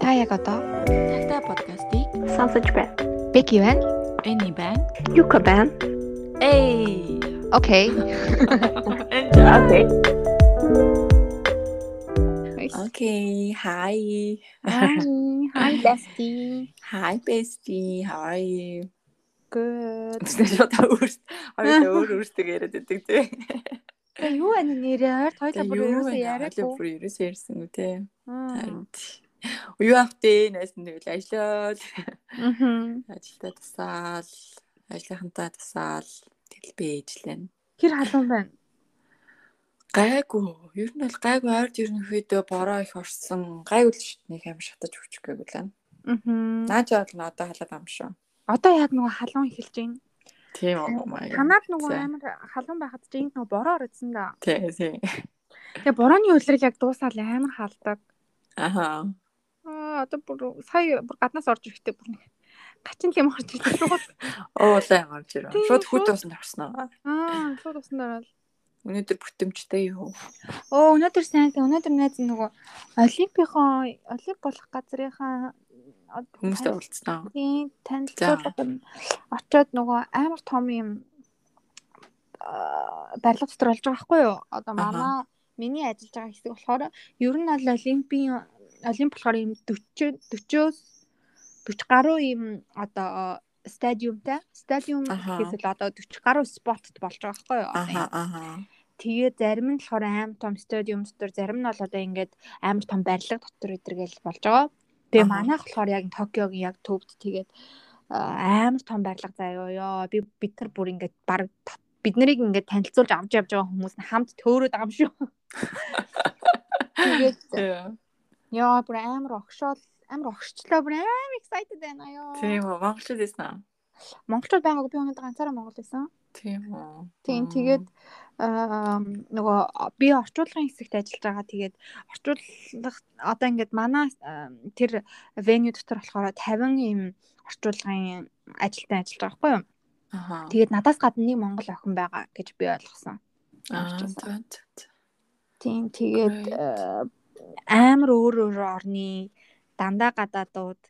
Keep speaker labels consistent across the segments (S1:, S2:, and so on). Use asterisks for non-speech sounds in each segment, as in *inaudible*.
S1: Та яг одоо
S2: Тагтай подкастыг
S3: сонсож байна.
S1: Becky байна.
S2: Эний байна.
S3: Юка байна.
S2: Эй.
S1: Окей.
S3: Окей.
S2: Okay, hi.
S1: Hi, hi bestie.
S2: Hi bestie. How are you?
S1: Good.
S2: Шууд өөрс. Хоёр өөр өөрсдөө яриад байдаг тий.
S1: Та юу ань нэрээр тойло бүр ерөөсөө
S2: яриад
S1: яриаггүй.
S2: бүр ерөөсөө ярьсан үү тий.
S1: Мм.
S2: Юу автэ найсан дэвэл ажиллаад
S1: Мгм.
S2: ажилдаа тасаал ажлынхантаа тасаал тэгэл би ээжлэн
S1: Хэр халуун байна?
S2: гайгүй ер нь бол гайгүй ард ерөнхийдөө бороо их орсон гайгүй л шүү дээ. нэг юм шатаж өгчихгүй лээ
S1: Мгм.
S2: наач бол н одоо халаад амшаа
S1: Одоо яг нөгөө халуун эхэлж байна.
S2: тийм уу маяг
S1: Танад нөгөө
S2: За.
S1: амар халуун байхад ч энд нөгөө бороо орсон да.
S2: тий тий
S1: Тэгээ борооны үлрэл яг дуусаад амар халдаг.
S2: аха
S1: Аа одоо бүр сая бүр гаднаас орж ирэхдээ бүр нэг гачин юм орж ирсэн. Шууд
S2: уулаа гарч ирв
S1: Тий,
S2: шууд
S1: шууд.
S2: хөт усан тавснаа
S1: аа шууд усан дээр бол.
S2: өнөөдөр бүтэмжтэй юу
S1: Оо өнөөдөр сайн сайн өнөөдөр найз нь нөгөө олимпийн олимп болох газрынхаа
S2: хүмүүстэй уулзсан
S1: Тийм танилцуулга юм. очоод нөгөө амар том юм аа, барилга дотор олж байгаа байхгүй юу? Одоо
S2: Аха.
S1: манай миний ажиллаж байгаа хэсэг болохоор ер нь бол олимпийн олимп болохоор юм 40 40-оос 40 гаруй юм одоо стадиумтай стадиум
S2: Аха.
S1: гэхээс л одоо 40 гаруй спотт болж байгаа байхгүй юу? Одоо
S2: аха аха
S1: Тэгээ зарим нь болохоор амар том стадиум дотор, зарим нь бол одоо ингээд амар том барилга дотор өдргээл болж байгаа. Тэгээ
S2: Аха.
S1: манайх болохоор яг Токиогийн яг төвд тэгээд аа, амар том барилга заяа ёо. Би бид нар бүр ингээд баг бид нарыг ингээд танилцуулж авч явж байгаа хүмүүс нь хамт төөрөөд байгаа юм шүү. Тэгээд ёо бүр амар огшоол амар огшчлоо бүр амар excited байна ёо.
S2: тийм үү монголчууд эсвэл
S1: Монголчууд байгаагүй би өнөөдөр ганцаараа Монгол байсан.
S2: тийм үү
S1: Тийм тэгээд аа, нөгөө би орчуулгын хэсэгт ажиллаж байгаа. Тэгээд орчуулах одоо ингээд манай аа, тэр venue дотор болохоор 50 им орчуулгын ажилтан ажиллаж байгаа байхгүй юу?
S2: аха
S1: Тэгээд надаас гадна нэг монгол охин байгаа гэж би ойлгосон.
S2: аа
S1: орчуулсан.
S2: за, за, за.
S1: Тийм тэгээд э, аа, амар өөр өөр орны дандаа гадаадууд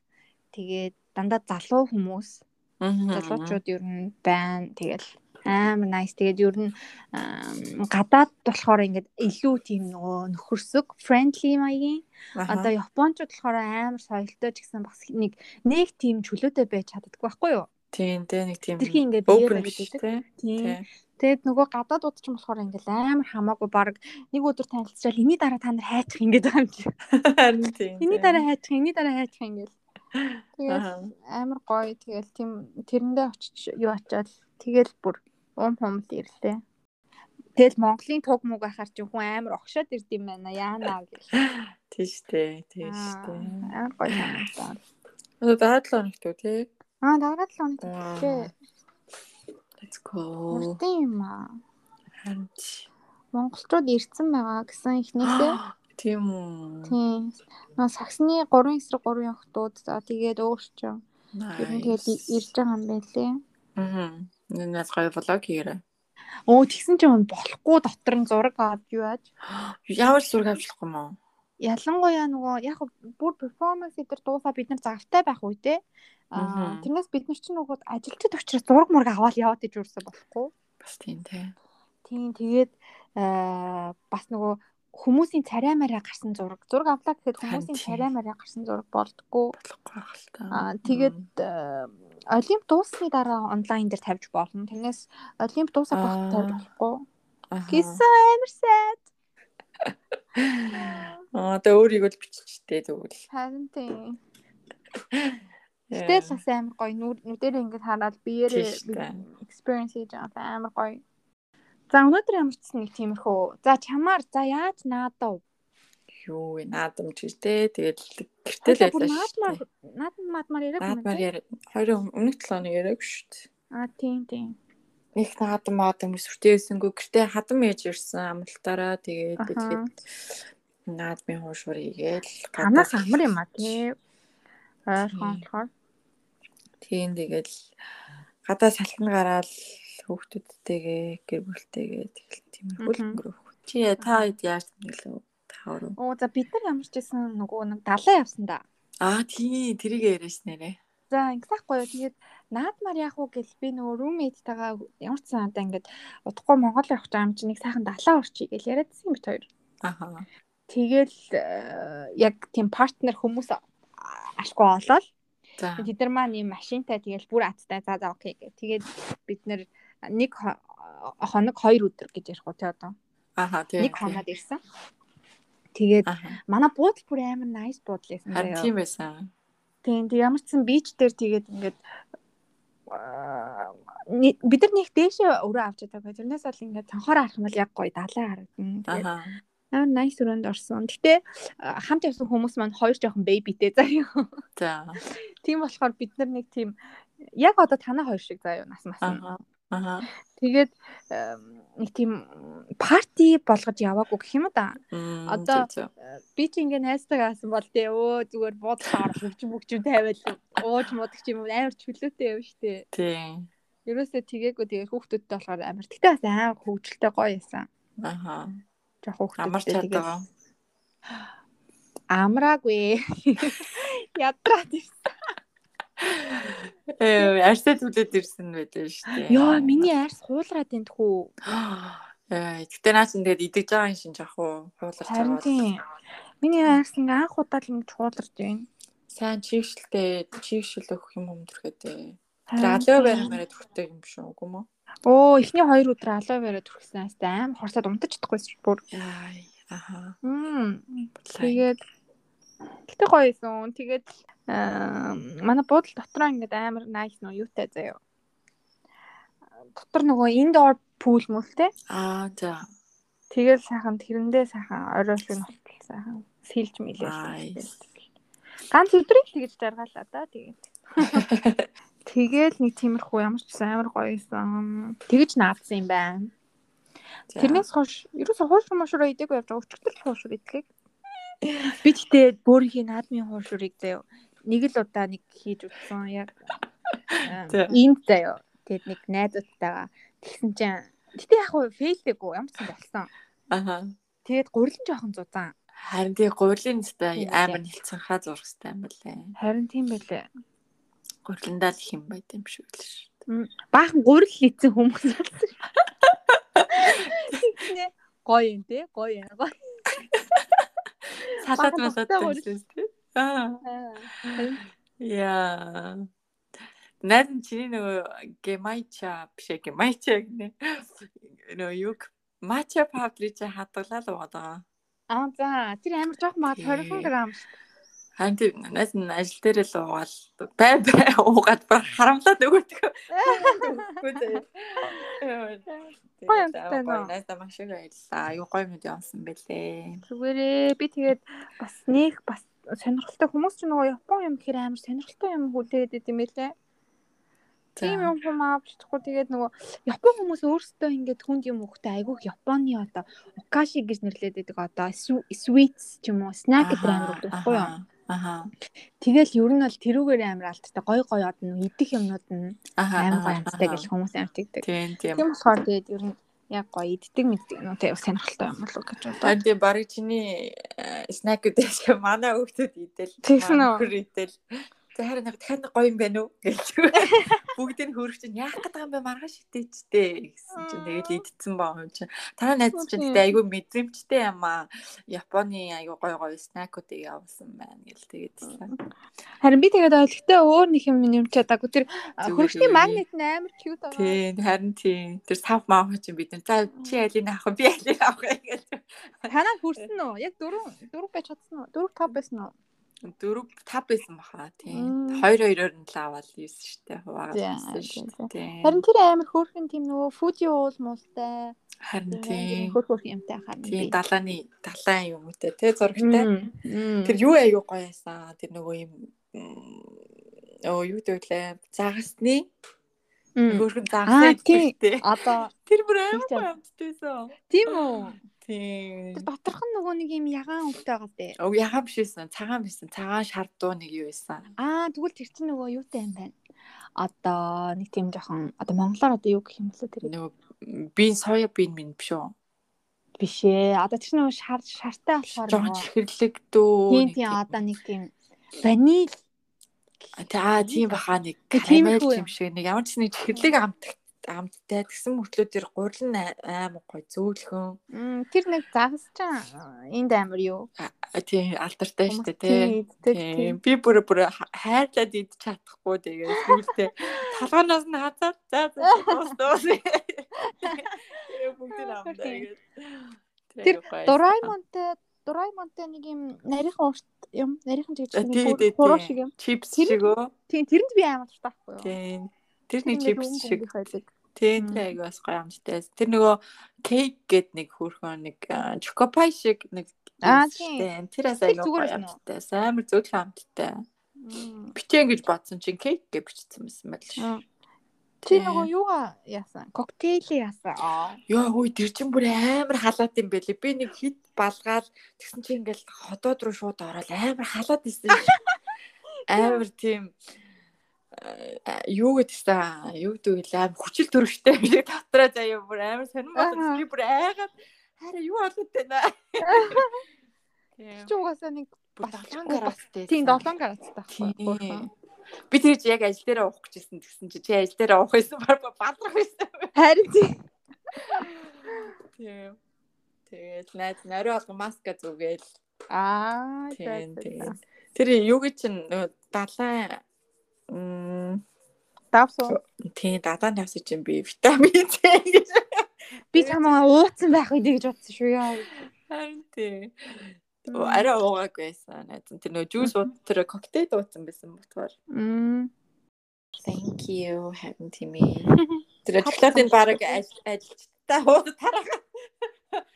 S1: тэгээд дандаа залуу хүмүүс залуучууд ер нь байна. Тэгэл амар nice. Тэгээд ер нь ам, гадаад болохоор ингээд илүү тийм нөгөө нөхөрсөг friendly маягийн. Одоо японочууд болохоор амар соёлтой ч гэсэн бас нэг нэг тийм чөлөөтэй байж чаддаг байхгүй юу?
S2: тийм тий нэг тийм
S1: Тэрхийн ингээд биеэр
S2: open
S1: байдаг.
S2: биш тий
S1: Тийм.
S2: тий *laughs*
S1: Тэгээд нөгөө гадаадууд ч юм болохоор ингээд амар хамаагүй баг нэг өдөр танилцчаал энэний дараа та нар хайчих ингээд байгаа юм чи.
S2: харин тийм
S1: Энэний дараа хайчих, энэний дараа хайчих ингээд. Тэгээд
S2: Аха.
S1: амар гоё тэгэл тийм тэрэндээ очиж юу очиад тэгэл бүр уум хумл ирлээ. Тэгэл Монголын туг муг ахаар чи хүн амар огшоод ирд юм байна яанаа гэл.
S2: тийш тий тийш тий
S1: Аа, Амар гоё санагдаа.
S2: одоо дараа 7 хоногт үү тий
S1: Аа дараа 7 хоног
S2: Вау.
S1: тэлээ.
S2: let's go
S1: Уртын юм аа.
S2: харин
S1: Монголчууд ирцэн байгаа гэсэн ихнээсээ
S2: *gasps* тийм үү
S1: тийм. Наа саксны 3 эсрэг 3 явахтууд за тэгээд өөрчөн. Ер нь тэгэл
S2: Nice.
S1: и- ирж байгаа юм байлээ.
S2: Мгм. Энэ нас гоё влог хийгээрэй.
S1: Өө тэгсэн чинь болохгүй дотор нь зураг авч юу яаж
S2: Ямар ч зураг авчлахгүй мó.
S1: ялангуяа нөгөө яг хөө бүр перформанс дээр дуусаа бид нар завтай байх үү те аа
S2: Мгм.
S1: тэрнээс бид нар ч нөгөө ажилчид учраас зураг мураг аваад яваад иж юурсан болохгүй
S2: Бас тийм тий.
S1: тийм тэгээд аа бас нөгөө хүмүүсийн царай мараа гарсан зураг зураг авлаа гэхэд хүмүүсийн
S2: тийм.
S1: царай мараа гарсан зураг болдгоо
S2: Болохгүй байх л та.
S1: аа тэгээд аа, олимп дуусны дараа онлайн дээр тавьж болно тэрнээс олимп дуусах багт
S2: Аа.
S1: тавьж болохгүй
S2: Аха.
S1: гэсэн амар сайд
S2: *laughs* Аа тэ өөрийгөө л биччихтэй тэгвэл.
S1: харин тийм
S2: Э.
S1: Гэтэл бас амар гоё нүд нүдээр ингэж хараад биеэрээ
S2: Тийш дээ.
S1: experience хийж байгаа амар гоё. За өнөөдөр ямар ч гэсэн нэг тиймэрхүү. За чамаар за яаж наадав?
S2: Юу вэ? Наадам ч гэжтэй. Тэгээд гэртэл
S1: Тэгэл
S2: байлаа шүү
S1: наадмаар
S2: дээ.
S1: наадмаар маадмаар яриаг
S2: Наадмаар
S1: юм.
S2: яа. Хоёр өмнөх 7 хоног яриаг шүү дээ.
S1: А тийм тийм.
S2: Нэг наадам маадам сүртэйсэнгүү гэртээ хадам ээж ирсэн амралтаараа тэгээд
S1: Аха.
S2: бидгээд наадмын хуушуур хийгээл
S1: Танаас амар юм а тий. Ойлгон болохоор.
S2: Тийм тэгэл гадаа салхин гараад хүүхдүүдтэйгээ гэр бүлтэйгээ тэгэл тиймэрхүү л
S1: Мгм.
S2: өнгөрөх. Чи я- та хэд яаж тэмдэглэв? Тавруу.
S1: Оо за бид нар ямар ч гэсэн нөгөө нэг далаа явсан да.
S2: Аа тий тэрийг яриаш нэрэ.
S1: За ингэхгүй юу. Тэгээд наадмаар яах вэ гэл би нөгөө roommate-тагаа ямар ч санаатай ингээд удахгүй Монгол явах гэж юм чинь нэг сайхан далаа орчих гэл яриадсан бит хоёр.
S2: Аха.
S1: Тэгэл э, яг тийм партнер хүмүүс ашгүй олоод
S2: За.
S1: тэд нар маань юм машинтай тэгэл бүр аттай за за окей гэх. Тэгээд бид нар нэг хо- э, хоног хоёр өдөр гэж ярих уу те одоо.
S2: Аха тий.
S1: Нэг
S2: тий.
S1: хоноод ирсэн. Тэгээд
S2: Аха.
S1: манай буудал бүр амар nice буудал байсан.
S2: Харин
S1: заяа.
S2: тийм байсан.
S1: Тийм тийм ямар ч сан бич дээр тэгээд ингээд аа, ни- бид нар нэг дээшээ өрөө авч чадаагүй. Тэрнээс бол ингээд цанхоор харах юм бол яг гоё далай харагдана. Тэгээд
S2: Аха.
S1: амар nice өрөөнд орсон. Гэтэ а, хамт явсан хүмүүс маань хоёр жоохон бэбитэй заяа. *laughs*
S2: За.
S1: Тийм болохоор бид нар нэг тийм яг одоо танаа хоёр шиг заяа нас нас. нь.
S2: Аха. Аха.
S1: Тэгээд эм, нэг тийм парти болгож яваагүй гэх юм да.
S2: Мм,
S1: Одоо-
S2: зөө, зөө.
S1: Би ч ингээд найстаг аасан бол тий өө зүгээр буудлаар хөвч мөгч тавиад ууж модч юм амар чөлөөтэй юм штэ.
S2: тий.
S1: Ерөөсөө тгээгүү тэгээ хүүхдүүдтэй болохоор амар. Гэтэ бас аа хөвгөлтэй гоё байсан.
S2: Аха.
S1: Жохоо хүүхдүүдтэй
S2: Амар чадгаа.
S1: Амраагүй. *laughs* Ядраад ирсэн.
S2: Э арьсаа түлээд ирсэн байлаа шүү дээ.
S1: Йоо, миний арьс хуулраад энэ хүү.
S2: Э гэтээ наа чин тэгээд идэж байгаа юм шинж ах уу? Хууларч
S1: Харин
S2: аваад.
S1: тийм. Миний арьс ингээ анх удаа л ингэ чууларч байна.
S2: Сайн чигшэлтэй чигшэл өгөх юм өмдөрхөтэй. Тэр алөө баримаараа төрхтэй юм шүү үгүй мө?
S1: Оо, эхний хоёр өдөр алоо бариа түрхсэн хэвээр аим хорсоод унтаж чадахгүйс бүр.
S2: Яа. Аха.
S1: Мм.
S2: Сайн.
S1: Тэгээд гэтээ гоё байсан. Тэгээд аа, манай буудлын дотроо ингээд амар nice нөө юутай заяа. Дотор нөгөө indoor pool мөлтэй.
S2: Аа за.
S1: Тэгэл сайхан тэрэндээ сайхан оройш нь болтол сайхан сэлж мэлээ.
S2: Nice.
S1: Ганц өдрийг тэгж жаргалаа да тэгээд. Тэгэл нэг тиймэрхүү ямар ч байсан амар гоё байсан. Тэгж наадсан юм байна.
S2: За.
S1: Тэрнээс хойш ерөөсөө хууш мушруу идээггүй явж байгаа өчтөр хуушур идэхийг. Би тэгтээ бөөрийнхээ наадмын хуушурыг заяа. Нэг л удаа нэг хийж утсан яг. Аа,
S2: Тэ.
S1: Энд заяа. Тэгэд нэг найзуудтайгаа тэгсэн чинь гэтээ яг хуу фейлдэггүй ямар ч юм болсон.
S2: Аха.
S1: Тэгэд гурилан жоохон зузаан.
S2: Харин тий гурилын зэтэй
S1: Тийм,
S2: амар
S1: тийм.
S2: хилцэн хаа зурхстай юм байна.
S1: Харин тийм байлээ.
S2: Гуриландаа л их юм байт юм шиг л шүү.
S1: Баахан гурил хийсэн хүмүүс болсон. Тэгснэ гоё юм те гоё юм гоё.
S2: Салаад
S1: Бага
S2: болоод
S1: тогтой гурил.
S2: байсан тий. Аа.
S1: Харин
S2: Яа. Найд нь чиний нөгөө гемайча биш ээ, гемайча гэнэ. Нөгөө юг мача павдри чи хадгалаа л угаад байгаа.
S1: Аа за тэр амар жоох маа 20 грамм
S2: Харин тийм найд нь ажил дээр л угаал бай бай уугаад бүр харамлаад өгөөдөг.
S1: Гоё юмтай нөө.
S2: Найд нь маш их байлаа. Аюу гой мэд юмсан бэлээ.
S1: Зүгээрээ би тэгээд бас нэг бас сонирхолтой хүмүүс ч нөгөө Япон юм гэхээр амар сонирхолтой юм хүлээгээд байт юм байлээ. Тийм юм юм авчихгүй тэгээд нөгөө Япон хүмүүс өөрсдөө ингээд хүнд юм өгөхдөө айгүйх Японы одоо Укаши гэж нэрлэдэг байдаг одоо sweets ч юм уу snack гэдэг амар
S2: Аха,
S1: байдаг байхгүй юу?
S2: Аха.
S1: Тэгэл ер нь бол тэрүүгээр амар алдтай гой гой од нь идэх юмнууд нь
S2: Аха.
S1: амар гой
S2: аха,
S1: амттай
S2: аха.
S1: гэж хүмүүс амар тэгдэг.
S2: Тийм тийм.
S1: Тийм болохоор тэгээд ер нь яг гой иддэг мэддэг юм уу те сонирхолтой юм болов гэж бодлоо.
S2: Танд барыг чиний э, снэк гэдэг манай хүүхдүүд идэл.
S1: Тэгсэн үү?
S2: Хөр идэл. За харин нэг дахиад нэг гоё юм байна уу
S1: *laughs*
S2: гэж. Бүгд нь хөрөх чинь яах гэдэг юм бэ маргааш идэжтэй гэсэн чинь тэгэл идсэн баа юм чинь. Та найз чинь
S1: Үгүй.
S2: гэдэг айгүй мэдрэмжтэй юм аа. Японы айгүй гоё гоё снэкүүдийг явуулсан байна гэл тэгэдсэн.
S1: Харин би тэгээд ойлгохтой өөр нэг юм юм чадаагүй. Тэр а,
S2: Зүгээр,
S1: хөргөчний
S2: зүгээр.
S1: магнит нь амар cute байгаа.
S2: Тийм харин тийм. Тэр сав маав чинь бид нар за чи алийг авах вэ? би алийг авах вэ?" гэж.
S1: Танаа хүрсэн үү? Яг дөрөв дөрөв байж чадсан уу? Дөрөв тав байсан уу?
S2: дөрв тав байсан баха
S1: Мм.
S2: тийм 2 2-оор нь лавал юусэн штэ хуваагаад
S1: За,
S2: байсан
S1: за,
S2: штэ тийм
S1: Харин тэр амар хөөрхөн тийм нөгөө фужи уул муултай.
S2: харин
S1: Тийм
S2: тийм
S1: хөр хөр юмтай харна.
S2: тийм
S1: би.
S2: далааны далайн юмтэй тий зурагтай
S1: Мм, мм.
S2: тэр юу аягүй гоё байсан тэр нөгөө юм оо юу гэвэл загасны
S1: Мм.
S2: хөөрхөн
S1: Аа,
S2: загасаа
S1: тийм.
S2: идчихтэй
S1: одоо
S2: тэр бүр амар
S1: Тэгж
S2: гоё
S1: байна.
S2: амтдээсэн
S1: тийм үү?
S2: тийм
S1: Тэр доторх нь нөгөө нэг юм ягаан өвтэй байгаа дээ.
S2: Оо яхам бишсэн цагаан бишсэн цагаан шар дуу нэг юу байсан
S1: Аа тэгвэл тэр чинь нөгөө юутай юм байна. одоо нэг тийм жоохон одоо монголоор одоо юу гэх юм бэ тэр
S2: нөгөө би соёо би минь биш үү?
S1: биш ээ. Одоо тэр нэг шар шартай болохоор
S2: Жохон
S1: нөгөө
S2: чихэрлэг дөө.
S1: тийм тийм одоо нэг тийм ванил
S2: Та тийм баха нэг
S1: Гэ,
S2: карамель
S1: тиймэрхүү юм.
S2: юм шиг нэг ямар ч нэг чихэрлэг амт амттай тэгсэн мөртлөө тэр гурил нь а- аймаг гой зөөлхөн
S1: Мм, тэр нэг загас ч энд амар юу.
S2: А, тийм алдартай штэ
S1: Тийм,
S2: тий.
S1: тэр
S2: Тийм би бүр бүр ха- хайрлаад идэж чадахгүй тэгээд сүултээ талгаанаас нь хазаад за за *laughs* дуустал. Бүгд нь амтай тэгээд.
S1: Тэр
S2: аюу гайсан.
S1: Дураймонтэй Дураймонтэй нэг юм нарийнхан урт юм, нарийнхан тэгж
S2: А, Э, тий, тий,
S1: нэг хуруу шиг юм.
S2: Чипс
S1: Тэр-
S2: шиг үү?
S1: Тийм, тэрэнд би амар дуртай байхгүй юу?
S2: Тийм. Тэр
S1: Тэр
S2: нэг
S1: ингээд
S2: чипс
S1: өнгө
S2: шиг
S1: өнгөх байдаг.
S2: Тийм
S1: Мм.
S2: тэр аягүй бас гоё амттай. Тэр нөгөө кейк гэд нэг хөрхөн нэг аа, чокопай шиг нэг
S1: Аа,
S2: юмстэй.
S1: тийм.
S2: Тэр бас
S1: Тэр
S2: аягүй
S1: зүгээр
S2: гоё
S1: юм уу?
S2: амттай. Амар зөөлхөн амттай.
S1: Мм.
S2: Бичэн гэж бодсон чинь кейк гэж бичсэн байсан байл ш.
S1: Мм. Чи нөгөө юугаа яасан? Коктейлээ яасан. Аа.
S2: Яа хөөе тэр чинь бүр амар халаат юм бэлээ. Би нэг хит балгаад тэгсэн чинь ингээл ходоод руу шууд ороод амар халаат исэн. Амар тийм аа, юу гэдэгтэй юу гэдэг вэ? амар хүчил төрөвтэй би дотроо заяа бүр амар сонирн болсон.
S1: Аха.
S2: Би бүр айгаад хараа юу болоод байна. Тийм.
S1: Чи угаасаа нэг
S2: Бүр
S1: бас-
S2: долоон
S1: бас-
S2: гараастай.
S1: тийм 7 гарацтай байхгүй юу?
S2: Тийм.
S1: Хөрхөн.
S2: Би тэр чинь яг ажил дээрээ уух гэжсэн тэгсэн чи чи ажил дээрээ уух гэсэн баг бадрах байсан.
S1: Харин тийм.
S2: Тийм. Тэгээд найз нарийн алга маска зүгээл
S1: Аа.
S2: Тийм тийм.
S1: тийм.
S2: Тэр юу гэж чинь нөгөө далайн м
S1: Давсуу.
S2: тийм далайн давсаж чинь би витамин С гэж.
S1: Би чамаа ууцсан байх үү гэж бодсон шүү яа.
S2: Харин тийм. Араа уугаагүйсэн. Найзан тэр нөгөө жуус уу тэр коктейл уусан байсан бодгоор.
S1: Мм.
S2: Thank you haven't to *laughs* me. Тэр чоколатын баг ажилтаа уу тарах.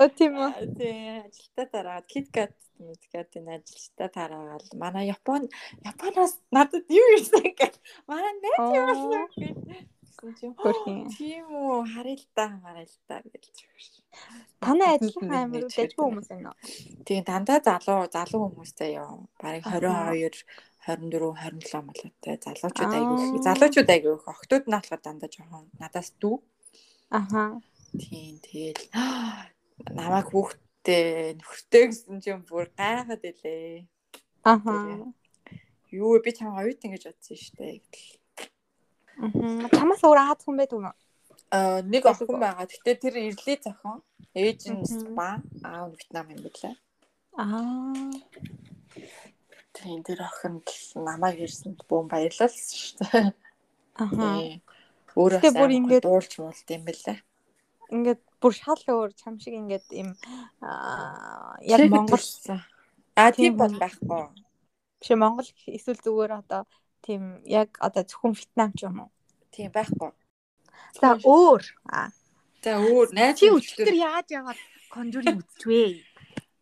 S1: Оо тийм үү.
S2: Тийм ажилтаа тараад KitKat KitKat-ийн ажилтаа тараагаал. Манай Япон Японоос надад юу ирсэн гэх. Манай
S1: Оо.
S2: Тэгсэн чинь
S1: Хөрхийн.
S2: тийм үү харъя л да харъя л да гэж зөвшөөрч.
S1: Танай ажлын аймаг дэжгүй хүмүүс байна уу?
S2: Тийм дандаа залуу залуу хүмүүстэй яв. Бараг
S1: Аха.
S2: 22 24 27 малтай залуучууд
S1: Аа.
S2: айгүй их. Залуучууд айгүй их. Охтууд нь болохоор дандаа жоохон надаас дүү.
S1: Аха.
S2: Тийм тэгэл *gasps* намайг хүүхдтэй нөхөртэй гэсэн чинь бүр гайхаад илээ.
S1: Аха.
S2: Юу вэ, би чам оюут ингэж бодсон шүү дээ гэдэл.
S1: Мгм. Чамаас өөр хаац хүн байдгүй юм уу?
S2: Аа Э, нэг охин байгаа. Гэтэ тэр ирлээ зохион. Ээж нь
S1: Мгм.
S2: Испан, аав нь Вьетнам юм билээ.
S1: Аа.
S2: Тийм тэр охин намайг ирсэнд бөөм баярлал шүү дээ.
S1: Аха.
S2: Тийм. Өөрөө
S1: Гэтэ бүр
S2: ингээд
S1: ингээд-
S2: дуулж муулт юм бэлээ.
S1: Ингээд бүр шал өөр чам шиг ингээд им аа яг Монгол
S2: А тийм
S1: Тийм
S2: бол
S1: хүн.
S2: байхгүй.
S1: биш ээ, Монгол гэх- эсвэл зүгээр одоо тийм яг одоо зөвхөн Вьетнам ч юм уу?
S2: Тийм байхгүй.
S1: За өөр. Аа.
S2: За өөр найз
S1: Чи
S2: нөхдөд-
S1: өчтөр яаж яваад конжуринг үзчихвэ?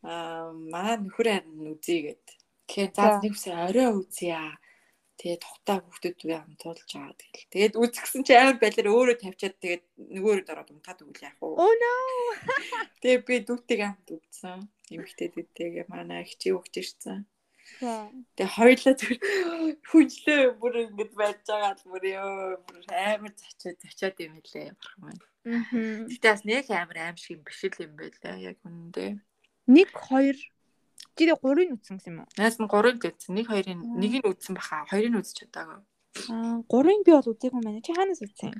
S2: аа манай нөхөр харин үзье гэд. Тэгэхээр заа
S1: За.
S2: нэг үсээ орой үзье. Тэгээ тухтай хүүхдүүд үе хамтуулж байгаа тэгэл. Тэгээд үзгсэн чи амар балер өөрөө тавьчаад тэгээд нөгөөрөө дөрөд унтаад өгөл яах вэ?
S1: Oh no.
S2: *laughs* Тэгээ би дүүтэйг хамт үзсэн. Эмэгтэй дүүтэйгээ манай хичээ өгч ирсэн. Тэгээ хоёлаа түр *gasps* хүнчлээ бүр ингэж байж байгаа л бүр ёо бүр амар зачаа зачаад юм хэлээ.
S1: Мгм.
S2: Гэтэ бас нэг амар аим шиг юм биш л юм байлаа яг үнэндээ.
S1: 1 2 Чи дэ 3-ыг үтсэн гэсэн юм уу?
S2: Наас нь 3-ыг үзсэн. Нэг хоёрын нэг нь үзсэн баха. Хоёрыг нь үзэж чадаагүй.
S1: Аа, 3-ыг би бол үзээгүй байна. Чи хаанаас үзсэн?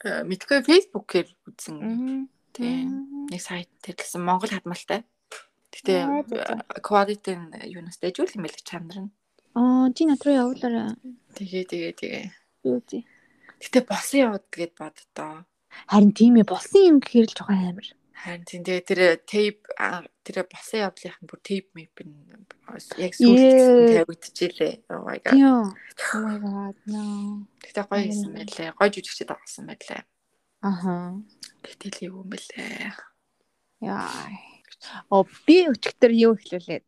S2: Э, Мэдгүй Facebook-ээр үзсэн.
S1: Мм.
S2: Тийм. Нэг сайт дээр гэсэн Монгол хадмалтай.
S1: Аа,
S2: Гэтэ
S1: за, за.
S2: э, quality нь юунаас дэжүүл юм бэлээ чанар нь.
S1: Аа, чи натруу явуулаарай.
S2: Тэгээ тэгээ тэгээ.
S1: Би үзье.
S2: Гэтэ босон яваад гээд боддоо.
S1: Харин тийм ээ болсон юм гэхээр л жоохон амар.
S2: Харин тийм тэгээ тэр тейп аа, тэр босон явдлынх нь бүр тейп мэйп нь яг
S1: Ээ.
S2: сүүлд тавигдчихжээ. Oh my god.
S1: Тийм. Oh my god. No.
S2: Гэтэ гоё хийсэн байлээ. Гоё жүжигчтэй дагсан байлээ.
S1: Аха.
S2: Гэтэ л юу юм бэлээ.
S1: Яа. Оо, би өчтөр юу ихлүүлээд.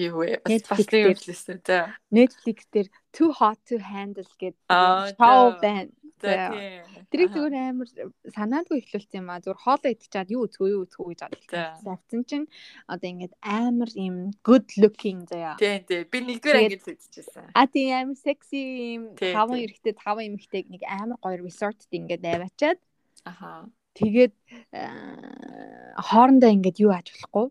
S2: Юу вэ? Бас
S1: Netflix
S2: бас
S1: дээр.
S2: нэг юм хэлсэн. За.
S1: Netflix дээр Too Hot to Handle гэдэг
S2: Аа,
S1: шоу
S2: за.
S1: байна. За,
S2: тийм.
S1: Тэрийг
S2: Аха.
S1: зүгээр амар санаандгүй эхлүүлсэн юм аа. Зүгээр хоол идчихад юу үзгүй юу үзгүй гэж
S2: За.
S1: бодчихсан. Авсан чинь одоо ингээд амар юм good looking заяа.
S2: Тийм тийм. Би нэгдүгээр
S1: Тэгээд-
S2: ангид үзчихсэн.
S1: А тийм амар секси юм
S2: Тий,
S1: таван
S2: тий.
S1: эрэгтэй таван эмэгтэй нэг амар гоё resort ингээд аваачаад
S2: Аха.
S1: тэгээд аа, хоорондоо ингээд юу ааж болохгүй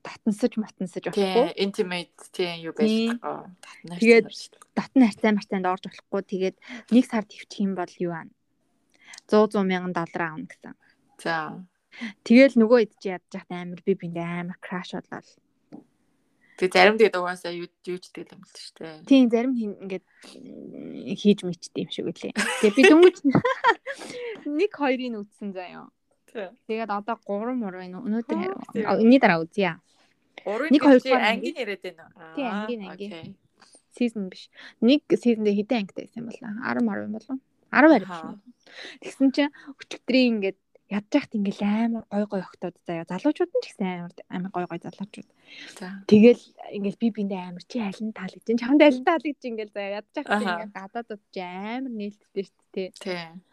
S1: татансаж матансаж
S2: Тийм,
S1: болохгүй
S2: intimate тийм юу
S1: Тийм.
S2: байж байгаа. Татнаар
S1: Тэгээд-
S2: санаар шүү дээ.
S1: татны харьцаа мартанд орж болохгүй тэгээд нэг сар төвчих юм бол юу аа 100 100 мянган доллар аавна гэсэн.
S2: за.
S1: Тэгэл нөгөө идэж ядчих амар би бинд амар краш боллоо.
S2: Тэг заримд гэдэг угаасаа юу юу ч гэдэг юм л шүү дээ.
S1: Тийм зарим хин ингээд м, хийж мичдэг юм шиг үлээ. Тэгээ би дөнгөж *laughs* нэг хоёрыг нь үтсэн заяа.
S2: Тийм.
S1: Тэгээд одоо 3 мөр байна. Өнөөдөр
S2: Оо, тийм.
S1: а, өнний дараа үзье.
S2: Гурвын
S1: Нэг,
S2: нэг хоёр
S1: хоёрдугаар
S2: ангийн яриад байна уу?
S1: Тийм,
S2: Аа,
S1: ангийн, ангийн.
S2: окей.
S1: Сизон биш. Нэг сизон дээр хэдэн ангитай байсан юм бол 10 10 юм болов. 10 барь биш.
S2: Аха.
S1: юм. Тэгсэн чинь өчигдрийн ингээд ядчихт ингээл амар гой гой өгтөд заяа. Залуучууд нь ч гэсэн амар амар гой гой залуучууд.
S2: За.
S1: Тэгэл ингээл би биндээ амар чи аль нь таалагч чинь чамд аль нь таалагч ингээл заяа. Ядчихт
S2: Аха.
S1: ингээл гадаад удаж амар нээлттэй шүү дээ.
S2: Тийм.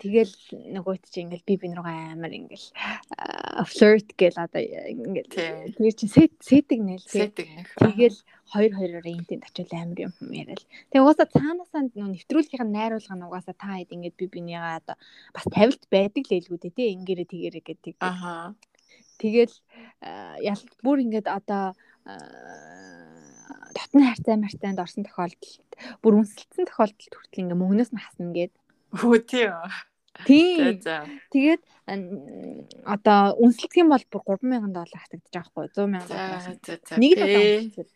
S1: Тэгэл нөгөөт чи ингээл би бин руугаа амар ингээл аа, flirt гэл одоо ингээл
S2: Тийм.
S1: тэр чи сет сетиг нэл тий.
S2: Сэтг нэх.
S1: Тэгэл хоёр хоёроор энтэнд очил амар юм юм яриад. Тэгээ угаасаа цаанаасаа нөө нэвтрүүлгийнх нь найруулга нь угаасаа та хэд ингээд би бинийгаа одоо бас тавилт байдаг л элгүүд ээ тий ингээрэ тэгэрэ гэдэг.
S2: Аха.
S1: Тэгэл аа, ялт бүр ингээд одоо аа, татны хайртай мартанд орсон тохиолдолд бүр үнсэлсэн тохиолдолд хүртэл ингээ мөнгнөөс нь хасна гээд.
S2: Үгүй тийм. үү? За,
S1: Тийм.
S2: За.
S1: Тэгээд ан- одоо үнэлэх юм бол бүр 3000 доллар хатагдчих жоохгүй 100
S2: За,
S1: 000 доллар.
S2: за, за.
S1: Нэг л одоо
S2: Бэ.
S1: үнэлчихээр.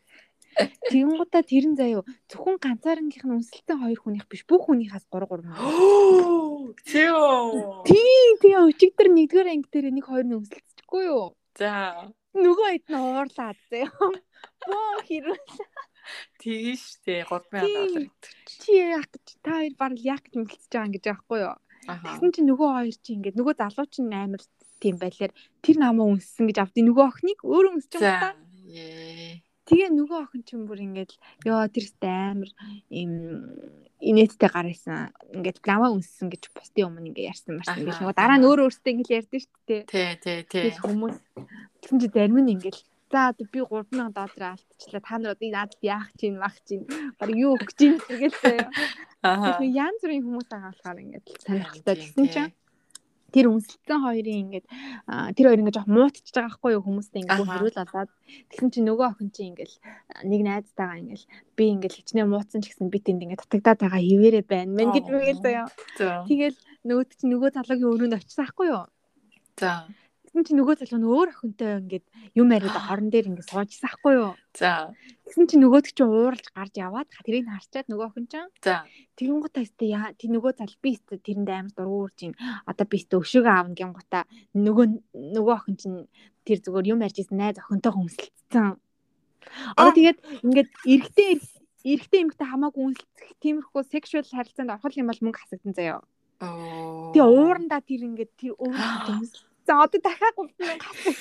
S1: Тэгэн гутаа тэр нь заяо зөвхөн ганцаарнгийнх нь үнэлсэн хоёр хүнийх биш бүх хүнийхээс 3
S2: *gasps*
S1: 3.
S2: Оо, Тийм. үү?
S1: Тийм. Тэгээ өчигдөр нэгдүгээр анги дээр нэг хоёр нь үнэлцчихгүй юу?
S2: За.
S1: Нөгөө хэд нь уурлаад заяо. Боо хэрв
S2: Тийм шүү дээ. 3000
S1: Тийм.
S2: доллар.
S1: чи яах гэж та хоёр барал яах гэж үнэлцэж байгаа юм гэж аахгүй юу?
S2: Аха.
S1: Тэгсэн чинь нөгөө хоёр чи ингээд нөгөө залуу чинь амар тийм байлаар тэр намаа үнссэн гэж авдгийг нөгөө охиныг өөрөө үнсэж байгаа юм
S2: За.
S1: даа.
S2: Э, Ээ.
S1: Тэгээ нөгөө охин ч юм бүр ингээд ёо тэр ихтэй амар им инээдтэй гар исэн. Ингээд лама үнссэн гэж бусдын өмнө ингээд ярьсан марсан гэж
S2: Аха.
S1: нөгөө дараа нь өөр өөртөө ингээд ярьдэн шүү дээ.
S2: Тий, тий, тий.
S1: Тэгээс хүмүүс тэгсэн чи зарим нь ингээд за одоо би 3000 доллар алдчихлаа. Та нар одоо надад яах чинь мах чинь баг юу өгч чинь хэрэгэлтэй.
S2: Аха.
S1: Тэгэхээр янз бүрийн хүмүүс байгаа болохоор ингээд сонирхолтой
S2: Тийм,
S1: тэгсэн
S2: тий.
S1: чинь тэр үнсэлсэн хоёрын ингээд аа, тэр хоёр ингээд жоох муутчихж байгаа байхгүй юу хүмүүстэй ингээд бүр
S2: Аха.
S1: хэрүүл болоод тэгсэн чинь нөгөө охин чинь ингээд аа, нэг найзтайгаа ингээд би ингээд хичнээн муутсан ч гэсэн би тэнд ингээд татагдаад байгаа хിവэрэ байна мэн гэж
S2: Оо.
S1: мэгэл заяа.
S2: За.
S1: Тэгэл нөгөөд чинь нөгөө залуугийн өрөөнд очсон байхгүй юу?
S2: За.
S1: Тэгсэн чинь нөгөө залуу нь өөр охинтой ингээд юм яриад хорон дээр ингээд суужсан байхгүй юу?
S2: За.
S1: Тэгсэн чинь нөгөөд чинь ууралж гарч яваад тэрийг харчаад нөгөө охин чинь
S2: За.
S1: Тэгэн гутаа өстө яа тий нөгөө зал би өстө тэрэнд амар дургуурж ин одоо би өстө өшөөгөө аавн гин гутаа нөгөө нөгөө охин чинь тэр зүгээр юм ярьж исэн найз охинтойгоо үнсэлцсэн. Одоо
S2: Аа.
S1: тэгээд ингээд эрэгтэй эрэгтэй эмэгтэй хамаагүй үнсэлцэх тиймэрхүү sexual харилцаанд орох юм бол мөнгө хасагдан заяа.
S2: Оо.
S1: Тэгээ уурандаа тэр ингээд тэр
S2: *gasps*
S1: өөрөө үнсэлцсэн. Одоо дахиад гутна хасагд.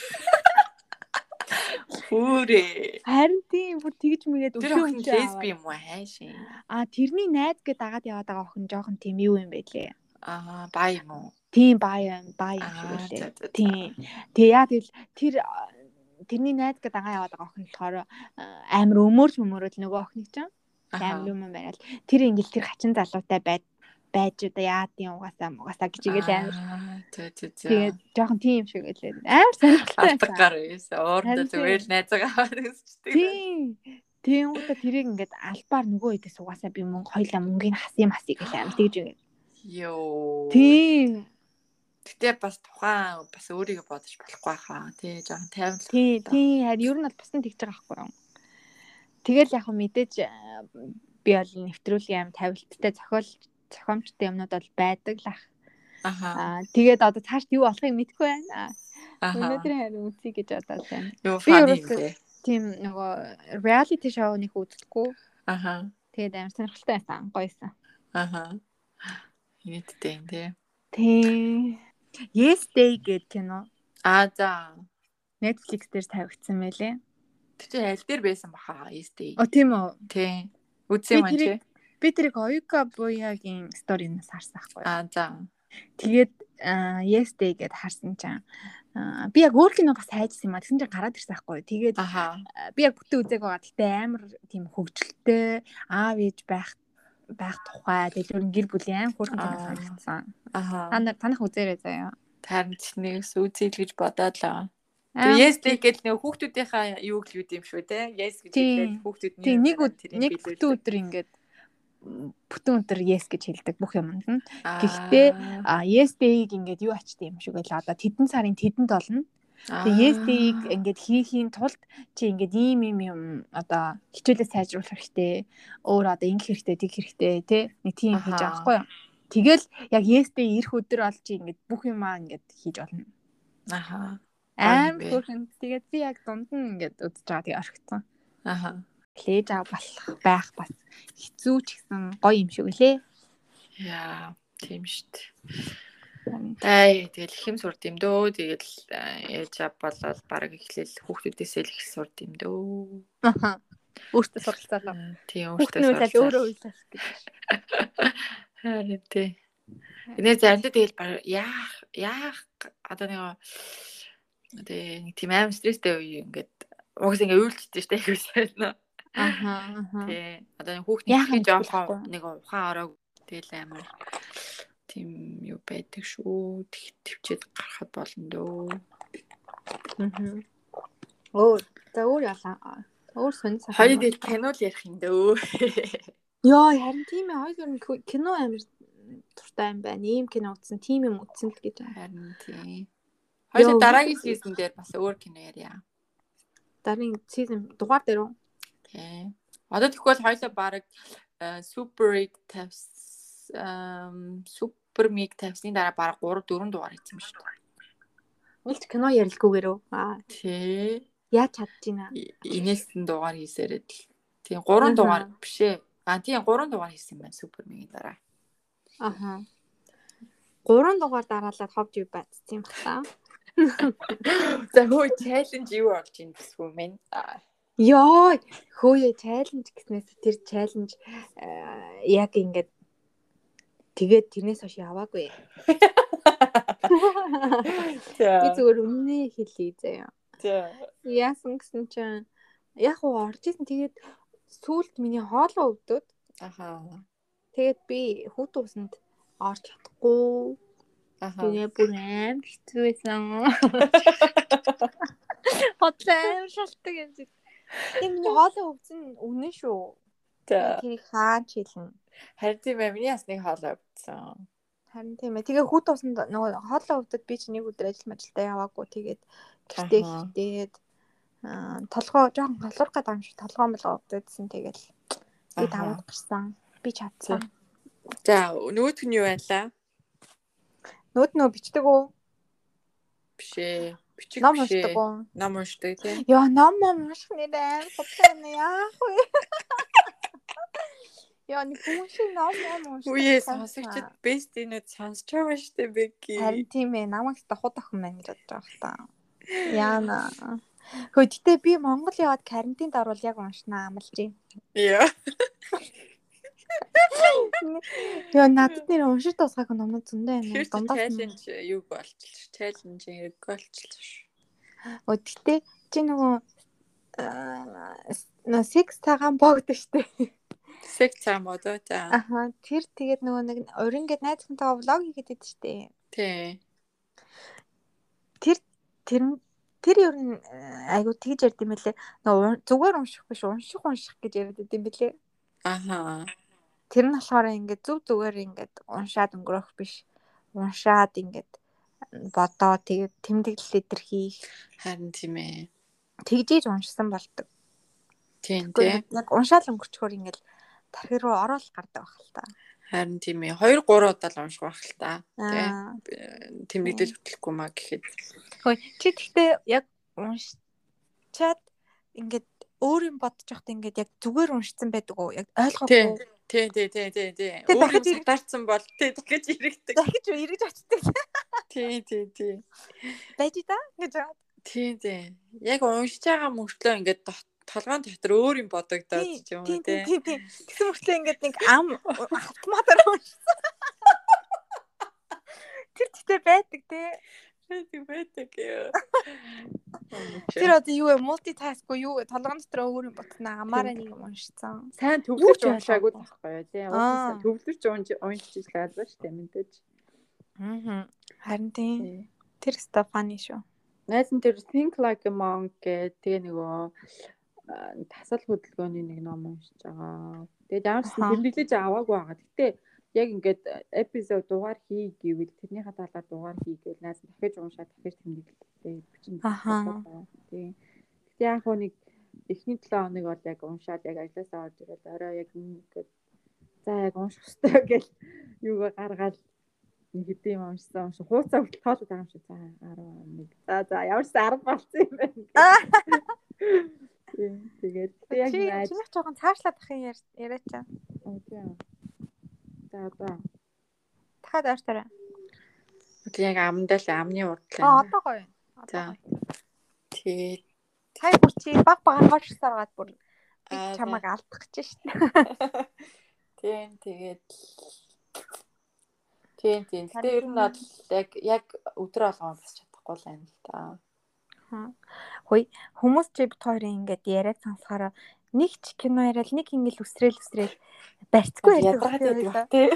S2: Хүрээ.
S1: Харин тийм бүр тэгж мэгээд
S2: Тэр охин
S1: өшөөгөө
S2: лесби
S1: аваад.
S2: юм уу хайшин?
S1: А тэрний найз гээд дагаад яваад байгаа охин жоохон тийм юу юм байлээ.
S2: Аа, бай юм уу?
S1: Тийм бай юм, бай юм шиг
S2: Аа,
S1: үлээ.
S2: за, за, за.
S1: Тийм. Тэгээ яа тэгэл тэр а, тэрний найз гэдэг ага яваад байгаа охин болохоор а, амар өмөрж өмөрөөл нөгөө охиныг ч амар
S2: Аха.
S1: юм байгаад тэр ингээл тэр хачин залуутай байд байж удаа яа тийм угаасаа угаасаа гэж игээл амар.
S2: Аа, За, за, за.
S1: Тэгээд жоохон тийм юм шиг үлээ. Амар сонирхолтой
S2: Алдаг
S1: байсан.
S2: гар байсан. Ууранда
S1: Харин тийм.
S2: зүгээр найзаагаа үзчихдэг.
S1: Тийм. Тийм удаа тэрийг ингээд албаар нөгөө хэдээс угаасаа би мөнгө хоёлаа мөнгөний хас юм хасыг гэх амар тэгж ингээд.
S2: Йоо.
S1: Тийм.
S2: Гэтэ бас тухайн бас өөрийгөө бодож болохгүй хаа. Тэ жоохон тайван.
S1: Тий,
S2: Да.
S1: тий, харин ер нь бол бас нь тэгж байгаа байхгүй юу. Тэгэл яг хөө мэдээж аа, би бол нэвтрүүлгийн аим тавилттай зохиол зохиомжтой юмнууд бол байдаг л ах.
S2: Аха.
S1: Аа тэгээд одоо цаашд юу болохыг мэдэхгүй байна. Аа,
S2: Аха.
S1: Өнөөдөр харин үзье гэж бодоод байна. би
S2: Юу фан юм
S1: ерөөсөө-
S2: бэ?
S1: Тийм нөгөө reality show нэг үзтгүү.
S2: Аха.
S1: Тэгээд амар сонирхолтой байсан, гоёсэн.
S2: Аха. Нийтдээ юм тий.
S1: Тий. Yes Day гэдэг кино
S2: Аа за.
S1: Netflix дээр тавигдсан байлээ.
S2: Тэр чинь аль дээр байсан баха? Эстэй.
S1: О тийм үү.
S2: Тий. Үзсэн юм
S1: Би
S2: чи.
S1: тэрийг- би тэрийг Оюка Буягийн сторинаас харсан байхгүй.
S2: Аа за.
S1: Тэгээд аа, Yes Day гэд харсан чинь аа, би яг өөр кино бас хайжсан юм а. Тэгсэн чинь гараад ирсэн байхгүй. Тэгээд
S2: Аха.
S1: би яг бүтэн үзег байгаа. Тэгтээ амар тийм хөвгөлтэй аав ээж байх байх тухай. Тэгээд ер нь гэр бүлийн аим хөөрхөн
S2: Аа.
S1: зүйл санагдсан.
S2: Аха.
S1: Танах танах үзээрэй заяа.
S2: Харин ч нэг сүүцэл гэж бодоод л байгаа.
S1: Аа,
S2: Тэгээ yes day гэл нэг хүүхдүүдийнхаа юу л юу юм шүү те. Yes гэж
S1: Тийм.
S2: хэлээд хүүхдүүдний
S1: Тэг нэг
S2: юмсаар
S1: өд-
S2: тэрийг
S1: нэг
S2: биелүүлдэг.
S1: бүтэн өдөр ингээд м, бүтэн өдөр yes гэж хэлдэг бүх юмд нь.
S2: Аа.
S1: Гэхдээ, А yes day-г ингээд юу ачдаг юм шиг байла. Одоо тэдэн сарын тэдэнд олно. Тэгээ yes day-г ингээд хийхийн тулд чи ингээд ийм ийм юм одоо хичээлээ сайжруулах хэрэгтэй. Өөр одоо ингэ хэрэгтэй, тэг хэрэгтэй те. Нэг тийм хийж
S2: Ахаа.
S1: байгаа байхгүй юу? Тэгэл яг yes day ирэх өдөр бол чи ингээд бүх юмаа ингээд хийж олно.
S2: Аха. Аа,
S1: Аим
S2: бэ.
S1: хөөрхөн. Тэгээд би яг дунд нь ингээд үзэж байгаа тэгээ орхицсан.
S2: Аха.
S1: Плейж аа болох байх бас хэцүү ч гэсэн гоё юм шиг үлээ.
S2: Яа, тийм штт. Тай тэгэл их юм сурд юм дөө. Тэгэл аа, ээж ав болол баг эхлээл хүүхдүүдээсээ л их сурд юм дөө.
S1: Ахаа. Өөртөө суралцаалаа.
S2: Тийм
S1: Хүүхдийн
S2: өөртөө
S1: үйлс өөрөө үйлс гэж.
S2: Харин тий. Энэ заримдаа тэгэл баг яах яах одоо нэг одоо нэг тийм аим стресстэй үе ингээд угс ингээд үйлчдэж штэ их байна.
S1: Ахаа. ахаа.
S2: Тий. Одоо нэг хүүхний
S1: Яах
S2: хий
S1: нь
S2: жоохон
S1: болохгүй.
S2: нэг ухаан ороог тэгэл амар тийм юу байдаг шүү. Тэг төвчээд гарахад болно дөө.
S1: Өөр. За өөр ялаа. Өөр сонь сах.
S2: Хоёр дээл кино л ярих юм дөө.
S1: Йоо, харин тийм ээ. Хоёр юм кө- кино амир туртай юм байна. Ийм кино үзсэн, тийм юм үзсэн л гэж байна.
S2: Харин тий. Хоёул
S1: Йоо.
S2: дараагийн сизон дээр бас өөр кино ярья.
S1: Дарын сизон дугаар дээр үү?
S2: Тий. Одоо тэгвэл хоёлаа э, баг супер иг тавс ам супер миг тавсны дараа баг 3 4 дугаар хийсэн юм шүү дээ.
S1: Уулч кино ярилгүйгээр үү? Аа,
S2: Тий.
S1: яаж чадчихна.
S2: И- Инээсэн дугаар хийсэрэд л. Тий 3
S1: Аха.
S2: дугаар биш ээ. А тий 3 дугаар хийсэн байна супер мигийн дараа.
S1: Аха. Гурван дугаар дараалаад ховж юу бац тийм байна.
S2: За хөө чаленж юу болж юм гэсгүй мэн.
S1: Йоо, хөөе чаленж гэснээс тэр чаленж аа, яг ингээд тэгээд тэрнээс хойш яваагүй. Би
S2: За.
S1: зүгээр үнэнээ хэлээ заяа.
S2: За.
S1: Яасан гэсэн чинь яг уу орж исэн тэгээд сүулт миний хоолоо өвдөд.
S2: Аха.
S1: Тэгээд би хүүт усанд орж чадахгүй.
S2: Аха.
S1: Тэгээ бүр аим хэцүү байсан. Хотлоо аим шалтгаан юм зү. Тэгээд миний хоолоо өвдсөн үнэн шүү.
S2: За.
S1: Тэрийг хаан чилнэ.
S2: Харин тийм ээ миний бас нэг хоол авдсан.
S1: Харин тийм ээ. Тэгээ хүүт усанд нөгөө хоолоо өвдөд би чинь нэг өдөр ажил мажилдаа яваагүй. Тэгээд гэртээ
S2: Ахаа.
S1: хитээд аа толгоо жоохон голуурах гэдэг юм шиг толгоо мөлгөө өвдөдсөн. Тэгээд би
S2: Ахаа.
S1: даваад гарсан. Би чадсан.
S2: За нөгөөх нь юу байлаа?
S1: Нүд нөө бичдэг үү?
S2: Биш ээ. Бичих
S1: Ном
S2: биш
S1: уншдаг
S2: ээ.
S1: үү?
S2: Ном уншдаг тийм.
S1: Яа, ном ном унших нэр аим бодлоо нэ яах вэ? *laughs* Яа, нэг хүн шиг ном ном уншдаг.
S2: Үе
S1: байсан.
S2: сонсогчд best энэ сонсож байгаа штэ Бэки.
S1: Харин тийм ээ, намайг даху дахин байна гэж бодож байгаа хта. Яана. Хөө, гэтээ би Монгол яваад карантинд орвол яг уншнаа амлаж юм.
S2: Яа.
S1: Яа, надад нэр уншиж тусгайг номнууд зөндөө
S2: Тэр
S1: байна.
S2: чинь
S1: Дундаас нь.
S2: challenge юу болчихлоо. Challenge хэрэг болчихлоо.
S1: Өдөртэй чи нөгөө аа, с- нөө секс цагаан богдсон штэ.
S2: Сэг цаам одоо та.
S1: Аха, тэр тэгээд нөгөө нэг урин гэд найз хүнтэйгээ влог хийгээд байд штэ.
S2: Тий.
S1: Тэр нь- тэр ер нь аа, айгу тэгж ярьд юм бэлээ. Нөгөө ур- зүгээр унших биш унших унших гэж яриад байд юм бэлээ.
S2: Аха.
S1: Тэр нь болохоор ингээд зүг зүгээр ингээд уншаад өнгөрөх биш. Уншаад ингээд бодоо тэгээд тэмдэглэл өдр хийх.
S2: Харин тийм ээ.
S1: Тэгжээж уншсан болдог.
S2: Тийм тий.
S1: Гэхдээ Яг уншаал өнгөрчхөөр ингээд тархи руу ороод гардаг байх л та.
S2: Харин тийм ээ. 2 3 удаа л унших байх л та. Тий.
S1: Аа.
S2: Тэмдэглэл хөтлөхгүй маа гэхэд.
S1: Хөөе чи гэхдээ яг уншчаад ингээд өөр юм бодож байхад ингээд яг зүгээр уншсан байдаг уу? Яг
S2: Тий.
S1: ойлгоогүй.
S2: Тий тий тий тий тий.
S1: Тэ, дахиад
S2: Өөрөө
S1: ирэх-
S2: сатарсан бол тий дахиж ирэгдэг.
S1: Дахиж эргэж очдаг
S2: Тий тий тий.
S1: байж да гэж.
S2: Тийм тийм. Яг уншиж байгаа мөртлөө ингээд дот толгойн дотор өөр юм бодогдоод ч юм уу
S1: Тийм тийм тийм.
S2: тий.
S1: тийм. Тэгсэн мөртлөө ингээд нэг ам автоматар уншсан. Тэр тэтэ байдаг те.
S2: Тийм байдаг ёо.
S1: Тэр одоо юу вэ? Мултитаск уу юу вэ? Толгойн дотор өөр юм ботно амаараа нэг юм уншсан.
S2: сайн
S1: Юу
S2: төвлөрч
S1: ч
S2: уншаагүй
S1: ойлгоогүй.
S2: байхгүй юу тий.
S1: Аа.
S2: Уусаа төвлөрч унж- уншиж л албаа шүү дээ мэдээж.
S1: Аа. Харин тийм.
S2: Тий.
S1: Тэр Стефани шүү.
S2: Найз нь тэр Think Like a Monk гэдэг тэгээ нөгөө аа, тасал хөдөлгөөний нэг ном уншиж байгаа. Тэгээд ямар ч
S1: Аха.
S2: тэмдэглэж аваагүй байгаа. Гэтэ яг ингээд эпизод дугаар хий гэвэл тэрний ха талаар дугаар хий гэвэл найз нь дахиж уншаад дахиж тэмдэглэжтэй бичэн
S1: Аха.
S2: Тий. Гэтэ яг хөө нэг эхний 7 хоног бол яг уншаад яг ажилласаа орж ирээд орой яг ингээд за яг унших хэрэгтэй гэж юугаа гаргаад нэг хэдийн юм уншсан уншсан. Хууцаа хүртэл тоолоод байгаа юм шиг. За 11. За за ямар ч 10 болсон юм байна.
S1: Аа.
S2: Тийм, Тэгээд
S1: Чи
S2: тэ яг найз.
S1: чинийх жоохон цаашлаад ах юм яар- яриач. аа.
S2: Оо, тийм. За одоо.
S1: Дахиад ойртоорой.
S2: Үгүй яг амндаа л амны
S1: Аа
S2: урдлаа.
S1: одоо гоё. Одоо гоё.
S2: За. Тэгээд
S1: Сайн бүр чи баг багаар хоош саргаад бүр би
S2: Аа,
S1: чамайг алдах гэж штэ.
S2: Тийм тэгээд Тийм тийм. Гэтэ ер нь бол яг яг өдрө болгоо бас чадахгүй л байна л та.
S1: Хүмүүс чи бит хоёрын ингээд яриад сонсохоор нэг ч кино яриад нэг ингээд үсрээл үсрээл барьцгүй ярьдаг. бах тий хоёулаа.
S2: Ядаргаад байдаг бах тий.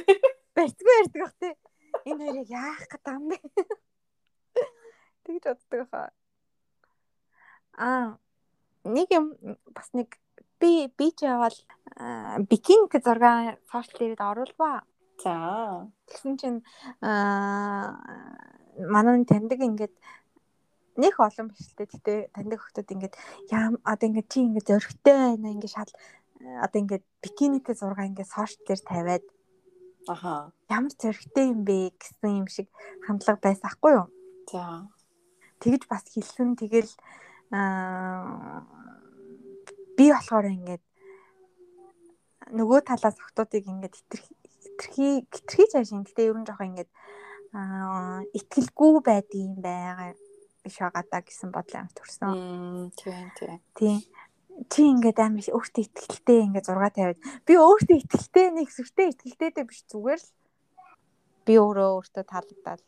S1: Барьцгүй ярьдаг бах тий. Энэ хоёрыг яах гэдэг юм бэ? *laughs* Тэгж боддог хаа. Аа нэг юм бас нэг би би ч яваал аа, бикинг зураг сошиал дээрээ оруулбаа.
S2: *laughs* За.
S1: Тэгсэн чинь аа манай таньдаг ингээд нэг олон биш л дээ. Гэтэ таньдаг хүмүүс ингээд яам одоо ингээд чи ингээд зөрөгтэй байна ингээд шал одоо ингээд бикинитэй зураг ингээд сошиал дээр тавиад
S2: Аха.
S1: ямар зөрөгтэй юм бэ гэсэн юм шиг хандлага байсан хгүй юу?
S2: За.
S1: Тэгж бас хэлсэн. Тэгэл аа би болохоор ингээд нөгөө талаас охтуудыг ингээд хитрхи- хитрхи хитрхи цаашаа гэтээ ер нь жоохон ингээд аа итгэлгүй байдаг юм байгаа биш байгаа даа гэсэн бодол амар төрсөн.
S2: Мм, тийм тийм.
S1: Тийм. Чи ингээд амар их өөртөө ихтгэлтэй ингээд зураг тавиад би өөртөө ихтгэлтэй нэг зүгтээ ихтгэлтэй дэ биш зүгээр л би өөрөө өөртөө таалагдаад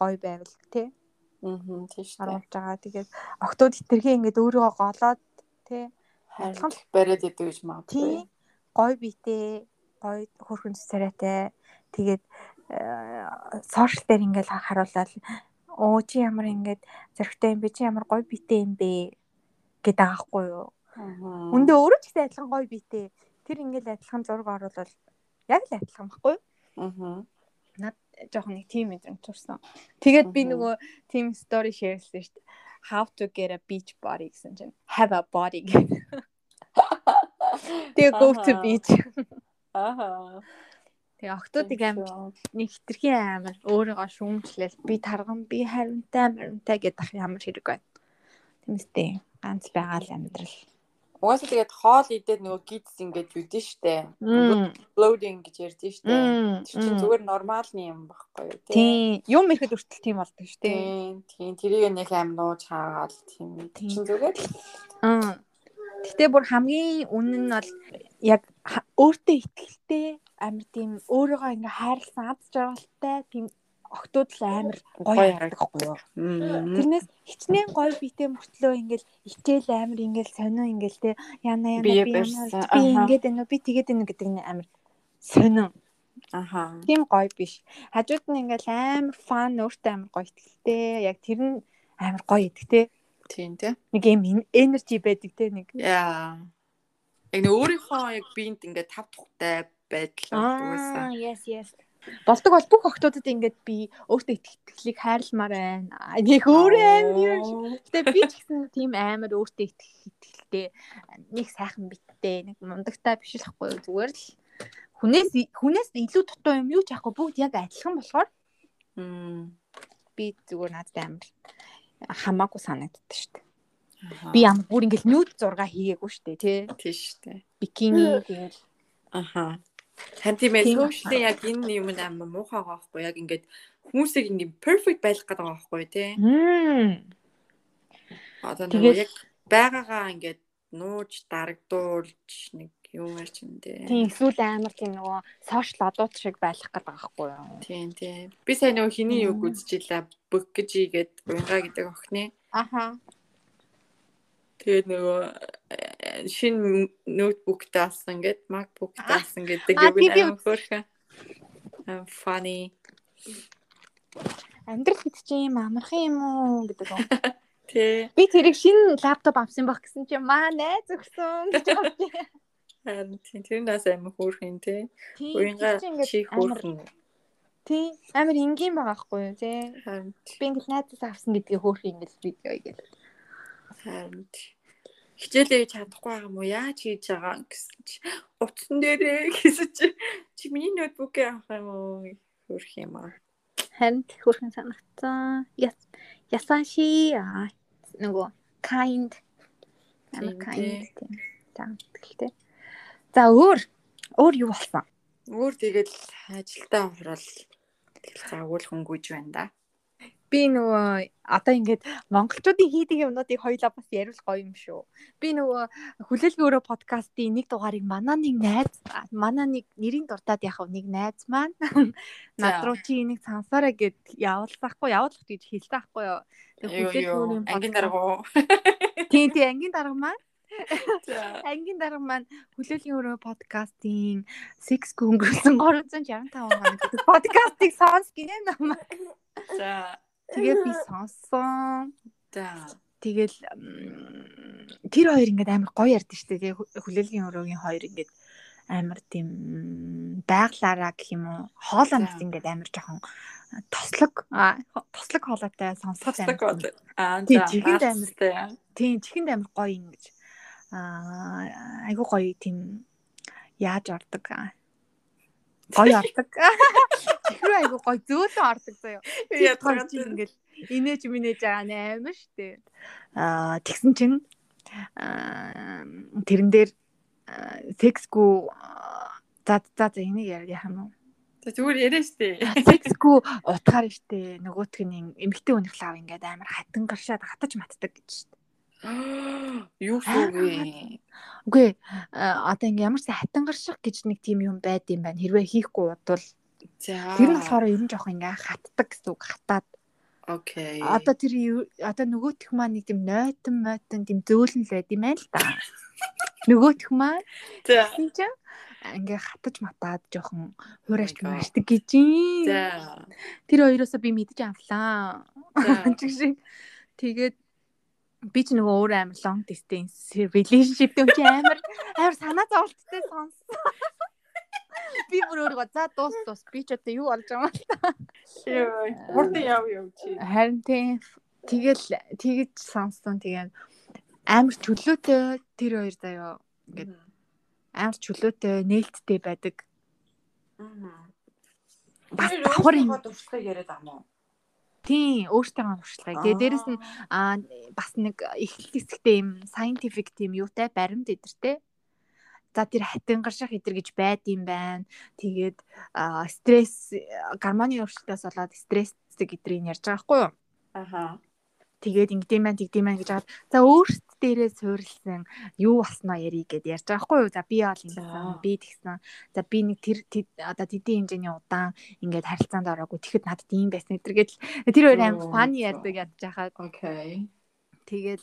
S1: гоё байвал тий
S2: Мм, тийм шүү.
S1: оруулж байгаа. Тэгээд октод хитрхээ ингээд өөрийгөө голоод тий
S2: Харин бариад идэв гэж магадгүй.
S1: тий гоё биетэй, гоё хөрхөн цэцэрэтэй. Тэгээд э, сошиал дээр ингээд харуулаад оо чи ямар ингээд зөрөгтэй юм бэ? Чи ямар гоё биетэй юм бэ? гэдэг аахгүй юу.
S2: Аха.
S1: Үндэ өөрөө ч гэсэн адилхан гоё биетэй. Тэр ингээд адилхан зураг оруулал яг л адилхан баггүй юу?
S2: Аха.
S1: Жохон нэг тим мэдрэмж төрсэн. Тэгээд би
S2: Мгм.
S1: нөгөө тим стори шеэрлсэн шүү дээ. How to get a beach body гэсэн чинь have a body гэх. Тэгээ go to
S2: Ахаа.
S1: beach.
S2: Аха.
S1: Тэгээ октодыг амар нэг хитрхи амар өөрийгөө шүүмжлээл би тарган би харимтай маримтай гэдэг ямар хэрэг байна. Тэмстэй ганц байгаа л амьдрал.
S2: Угаасаа тэгээд хоол идээд нөгөө гидс ингэж үдэн штэ.
S1: Мм.
S2: Loading гэж ярьдэн штэ.
S1: Мм.
S2: Тэр чинь зүгээр нормалны юм байхгүй юу
S1: Тийм. Юм ихэд өртөл тийм болдог шүү дээ.
S2: Тийм. Тийм. Тэрийг нэг аим нууж хаагаад тийм. Тэр чинь зүгээр л
S1: Аа. Гэтэ бүр хамгийн үнэн нь бол яг ха- өөртөө ихтэй амар тийм өөрийгөө ингээ хайрлсан аз жаргалтай тийм огтуд л амар гоё харагдахгүй юу.
S2: Мм.
S1: Тэрнээс хичнээн гоё биетэй мөртлөө ингээл ичээл амар ингээл сонио ингээл те яна яна би
S2: Би яг
S1: яна
S2: барьсан,
S1: би
S2: аха.
S1: ингээд байна уу би тэгээд байна уу гэдэг нь амар сонио.
S2: Аха.
S1: Тийм гоё биш. Хажууд нь ингээл амар фан өөртөө амар гоё ихтэй яг тэр нь амар гоё идэх те.
S2: Тийм тий.
S1: Нэг юм энержи байдаг те нэг.
S2: Яа. Яг нэг өөрийнхөө яг биед ингээд тав тухтай байдал болдог байсан.
S1: yes yes. Болдог бол бүх охтуудад ингээд би өөртөө их итгэлийг хайрламаар байна. Аа, Нэг өөрөө амар юм шиг. Гэтэ би ч гэсэн тийм амар өөртөө их итгэлтэй нэг сайхан биттэй нэг мундагтай биш л хгүй юу. зүгээр л хүнээс хүнээс илүү дутуу юм юу ч яахгүй бүгд яг адилхан болохоор
S2: Мм.
S1: би зүгээр надад амар хамаагүй санагддаг шүү дээ.
S2: Аха.
S1: Би ямар бүр ингээд нүүд зурга хийгээгүй шүү дээ тий.
S2: тийм штэ.
S1: Бикини тэгэл.
S2: Аха. Хантимээс
S1: Тийм.
S2: хөвчтэй яг энэ юм амар муухай байгаа байхгүй яг ингээд хүмүүсийг ингээд perfect байлгах гэдэг байгаа байхгүй тий.
S1: Мм.
S2: Одоо нэг
S1: Тэгээд-
S2: яг байгаагаа ингээд нууж дарагдуулж нэг юм ярьж юм дээ.
S1: Тийм эсвэл амар тийм нөгөө сошиал одууд шиг байх гэдэг байхгүй юу?
S2: Тийм тийм. Би сайн нөгөө хиний юг үзчихлээ. Бөг гэж игээд уянга гэдэг охины.
S1: Аха.
S2: Тэгээд нөгөө э, шинэ ноутбукт авсан гэд, MacBook авсан гэдэг
S1: Аа,
S2: юм
S1: тий, би
S2: амар хөөрхөн. Амар Funny.
S1: Амьдрал хэд ч юм амархан юм уу гэдэг юм.
S2: Тэ.
S1: Би тэрийг шинэ лаптоп авсан байх гэсэн чи маа найз өгсөн гэж бодсон.
S2: Харин тийм тэрнээс амар хөөрхөн тий.
S1: Тийм,
S2: Уянга
S1: тэр чинь ингээд
S2: чи
S1: амар-
S2: хөөрхөн.
S1: Тийм, амар энгийн байгаа байхгүй юу тий.
S2: Харин
S1: Би ингээд найзаас авсан гэдгийг хөөх юм бэл видео гэж.
S2: Харин ч хичээлээ хийж чадахгүй байгаа юм уу? Яаж хийж байгаа юм гэсэн чи утсан дээрээ *laughs* гэсэн чи чи миний ноутбукээ авах юм уу? Хөрх юм аа.
S1: Харин хөөрхөн санагцсан. Ясааши аа нөгөө kind амар
S2: Тийм,
S1: kind тийм. За тэтгэлтэй. За өөр өөр юу болсон?
S2: Өөр тэгэл ажилдаа орол загвал хөнгөж байна да.
S1: Би нөгөө одоо ингээд монголчуудын хийдэг юмнуудыг хоёлаа бас яриулах гоё юм шүү. Би нөгөө хүлээлгийн өрөө подкастын нэг дугаарыг манаа нэг найз аа, манаа нэг нэрийн дуртад яхав нэг найз маань над
S2: За.
S1: руу чи энийг сансараа гэд явуулсахгүй явуулах гэж хэлсэн байхгүй юу.
S2: Юу юу ангийн
S1: дарга.
S2: дарга.
S1: Тийм тийм ангийн дарга маань Ангийн дарга маань хүлээлгийн өрөө подкастын 6 *laughs* гүнгөрсөн 365 хоног гэдэг подкастыг сонс гинэ намайг.
S2: За.
S1: Тэгээ би сонссон.
S2: За.
S1: Тэгэл м, тэр хоёр ингээд амар гоё ярьдэн штэ. Тэгээ ху- хүлээлгийн өрөөгийн хоёр ингээд амар тийм м, байглаараа гэх юм уу. Хоолоноос
S2: За.
S1: ингээд амар жоохон тослог а, хо- тослог хоолойтой сонсоход
S2: Тасдаг
S1: амар
S2: гол. Аа
S1: Тий,
S2: за.
S1: чихэнд амар.
S2: Наастай.
S1: Тийм, чихэнд амар гоё юм гэж. Аа, айгу гоё тийм яаж ордог аа. Гоё ордог. Чихрүү айгу гоё зөөлөн ордог заяа.
S2: Ядгаад
S1: Ядгаар чи ингээл инээж минээж байгаа нэ амар штэ. Аа, тэгсэн чинь аа, тэрэн дээр аа, сексгүй аа, за за за энийг ярья хам уу.
S2: зүгээр яриа штэ. *gasps*
S1: Сексгүй утгаар штэ. Нөгөөтг нь эмгтэй өнөх лав ингээд амар хатан гаршаад хатаж матдаг гэж штэ.
S2: Юу суугүй.
S1: Үгүй э, одоо ингээм ямар сайн хатан гарших гэж нэг тийм юм байд юм байна. Хэрвээ хийхгүй бодвол
S2: За.
S1: тэр нь болохоор ер нь жоох ингээ хатдаг гэсэн үг хатаад.
S2: окей.
S1: Одоо тэр юу- одоо нөгөөх маань нэг тийм нойтон мойтон тийм зөөлөн л байд юм байна л да. Нөгөөх маань
S2: За.
S1: тийм ч ингээ хатаж матаад жоохон хуурайч
S2: Oh my God.
S1: мөрчдөг гэж юм.
S2: За.
S1: *laughs* Тэр хоёроос би мэдэж авлаа.
S2: За.
S1: Чиг шиг. Тэгээд би ч нөгөө өөр амар long distance relationship юм чи амар амар санаа зовлттой сонссон. Би бүр өөрөө за дуус дуус би ч одоо юу олж байгаа юм.
S2: Йой, Хурдан яв яв чи.
S1: Харин тийм тэгэл тэгж сонссон тэгээд амар чөлөөтэй тэр хоёр заяо Ингээд. амар чөлөөтэй нээлттэй байдаг. Бас давхар юм.
S2: дуртай яриад ам уу?
S1: Тийм өөртөө ган туршлагаа. Тэгээд дээрэс нь аа бас нэг эхлэл хэсэгтээ юм scientific тийм юутай баримт эдэртэй. За тэр хатин гарших эдэр гэж байд юм байна. Тэгээд аа, стресс гармоны өөрчлөлтөөс болоод стресс эдрийг ярьж байгаа байхгүй юу?
S2: Аха.
S1: Тэгээд ингэдэм байх, тэгдэм байх гэж хаад. За өөрт дээрээ суурилсан юу болсноо ярий гэд ярьж байгаа байхгүй юу? За би бол ингэсэн,
S2: За.
S1: би тэгсэн. За би нэг тэр тэд- одоо тэдний хэмжээний удаан ингээд харилцаанд ороогүй. Тэгэхэд надад ийм байсан эдэр гэдэл тэр хоёр амар
S2: Оо,
S1: фаны
S2: за.
S1: ярьдаг ядж хахаа.
S2: Окей.
S1: Тэгэл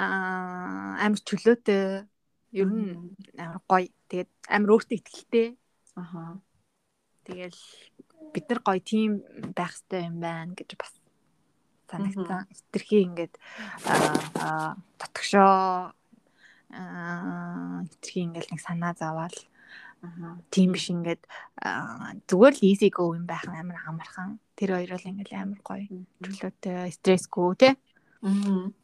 S1: аа, амар чөлөөтэй ер нь амар гоё. Тэгээд амар өөртөө ихтэй.
S2: Аха.
S1: Тэгэл бид нар гоё тим байх хэрэгтэй юм байна гэж бас санагдсан. Хитрхи ингээд аа, аа, дотгошоо аа, хитрхи ингээд нэг санаа заваал
S2: Аха.
S1: тийм биш ингээд аа, зүгээр л easy go юм байх нь амар амархан. Тэр хоёр бол ингээд амар гоё. Чөлөөтэй, стрессгүй те.
S2: Мгм.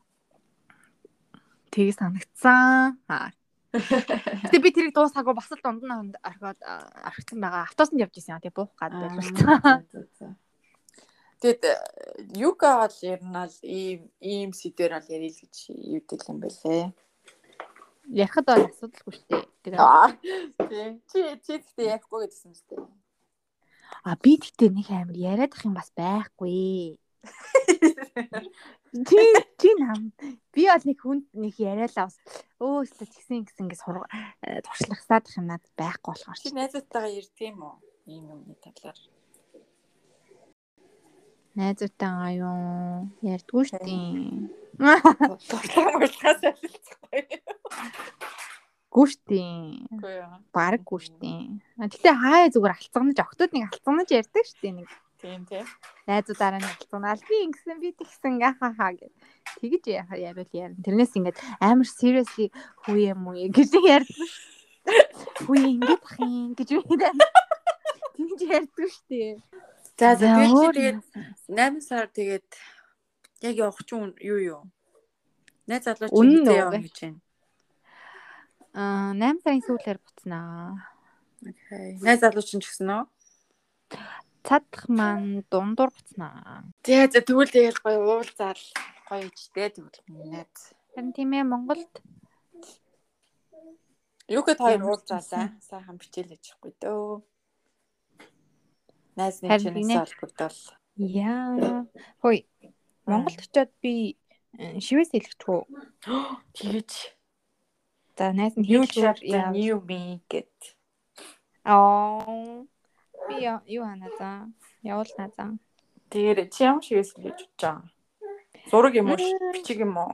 S1: Тэг санагдсан.
S2: *laughs*
S1: Аа. Гэтэ би тэрийг дуусаагүй бас л дунд нь орхиод аа, орхисон байгаа. Автобусанд явж исэн яа. Тэг буух гад байлаа.
S2: Аа, за, за. Тэгэд э, юга бол ер нь ал ийм ийм сэдвэр ал ярил гэж юудэл юм байлээ.
S1: *laughs* Ярихад бол асуудалгүй шүү дээ. Тэгээ.
S2: Аа. Тий. Чи чи гэдэгт ярихгүй гэсэн юм шүү дээ. *laughs*
S1: А би тэгтээ нэг амар яриадах юм бас байхгүй. Чи чи нам. Би бол нэг хүнд нэг яриалаа бас. Өө өстө тэгсэн гэсэн ингэ сурга э, туршлагасаад их юмнад байхгүй болохоор
S2: Чи
S1: чи
S2: найзуудтайгаа ярьдаг юм уу? Ийм юмны талаар.
S1: найзуудтайгаа юу ярьдгүй шүү дээ.
S2: Дурлаа уралдахаас солилцохгүй.
S1: Гүү шүү дээ.
S2: Үгүй юу.
S1: Бараггүй шүү дээ. А, Гэтэ хаяа зүгээр алцганаж октод нэг алцганаж ярьдаг шүү дээ. Нэг
S2: Тийм тийм.
S1: найзуудаараа нэг алцганаал би ингэсэн би тэгсэн ингээ ха ха гэж тэгж яхаа ярил ярина. Тэрнээс ингээд амар seriously хүү юм уу гэж ярьдаг. Хүү ингээд бах юм гэж үгээд тэгж ярьдаг шүү дээ.
S2: За за тэгээд чи
S1: өөр
S2: тэгээд
S1: юм байна.
S2: 8 сар тэгээд яг явах ч үн- юу юу. Найз залуу чи
S1: Үнэн
S2: хэдэ
S1: үү?
S2: явах гэж байна?
S1: аа 8 сарын сүүлээр буцнаа.
S2: Окей. Найз залуу чи ч гэсэн үү?
S1: Цадах маань дундуур буцнаа.
S2: Тэгээ за тэгвэл тэгэл гоё уулзаал гоё ичтэй тэгвэл найз.
S1: Харин тийм ээ Монголд
S2: Юу гэд хоёр
S1: Ямар
S2: уулзаалаа. Сайхан бичээл ячихгүй дөө. Найз нэг
S1: Харин
S2: чинээс
S1: гинэ.
S2: олбогдвол.
S1: яа. Хөөе. Монголд очиод би э, шивээс хэлэхгүй.
S2: Тэгэж
S1: За найз нь E
S2: new
S1: хэлэхгүй.
S2: chapter new me гэд.
S1: Аа. Би я- юу хана за? Явуулна за.
S2: Тэр чи ямар шивээс л гэж бодож байгаа. Зураг юм уу?
S1: Мм.
S2: Бичиг юм уу?